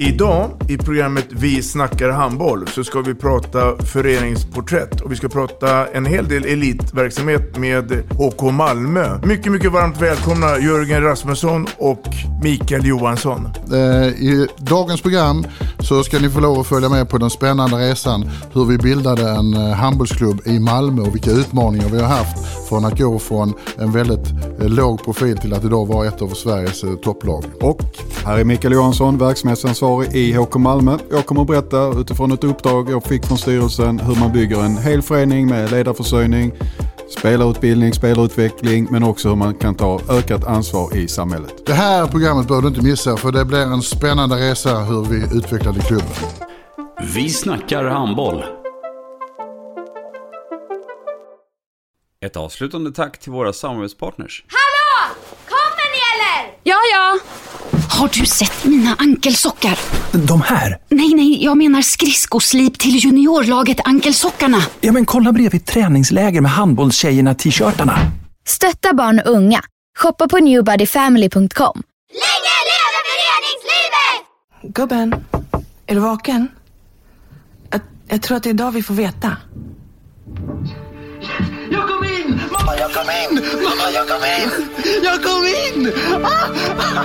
Idag i programmet Vi snackar handboll så ska vi prata föreningsporträtt och vi ska prata en hel del elitverksamhet med HK Malmö. Mycket, mycket varmt välkomna Jörgen Rasmusson och Mikael Johansson. Eh, I dagens program så ska ni få lov att följa med på den spännande resan hur vi bildade en eh, handbollsklubb i Malmö och vilka utmaningar vi har haft från att gå från en väldigt eh, låg profil till att idag vara ett av Sveriges eh, topplag. Och här är Mikael Johansson, verksamhetsansvarig i HK Malmö. Jag kommer att berätta utifrån ett uppdrag jag fick från styrelsen hur man bygger en hel förening med ledarförsörjning, spelarutbildning, spelarutveckling men också hur man kan ta ökat ansvar i samhället. Det här programmet bör du inte missa för det blir en spännande resa hur vi utvecklade klubben. Vi snackar handboll. Ett avslutande tack till våra samarbetspartners. Hallå! Kommer ni eller? Ja, ja. Har du sett mina ankelsockar? De här? Nej, nej, jag menar skridskoslip till juniorlaget Ankelsockarna. Ja, men kolla bredvid träningsläger med handbollstjejerna-t-shirtarna. Stötta barn och unga. Shoppa på newbodyfamily.com. Länge leve föreningslivet! Gubben, är du vaken? Jag, jag tror att det är idag vi får veta. Jag kom in! Mamma, jag kom in! Mamma, jag kom in! Jag kom in! Ah!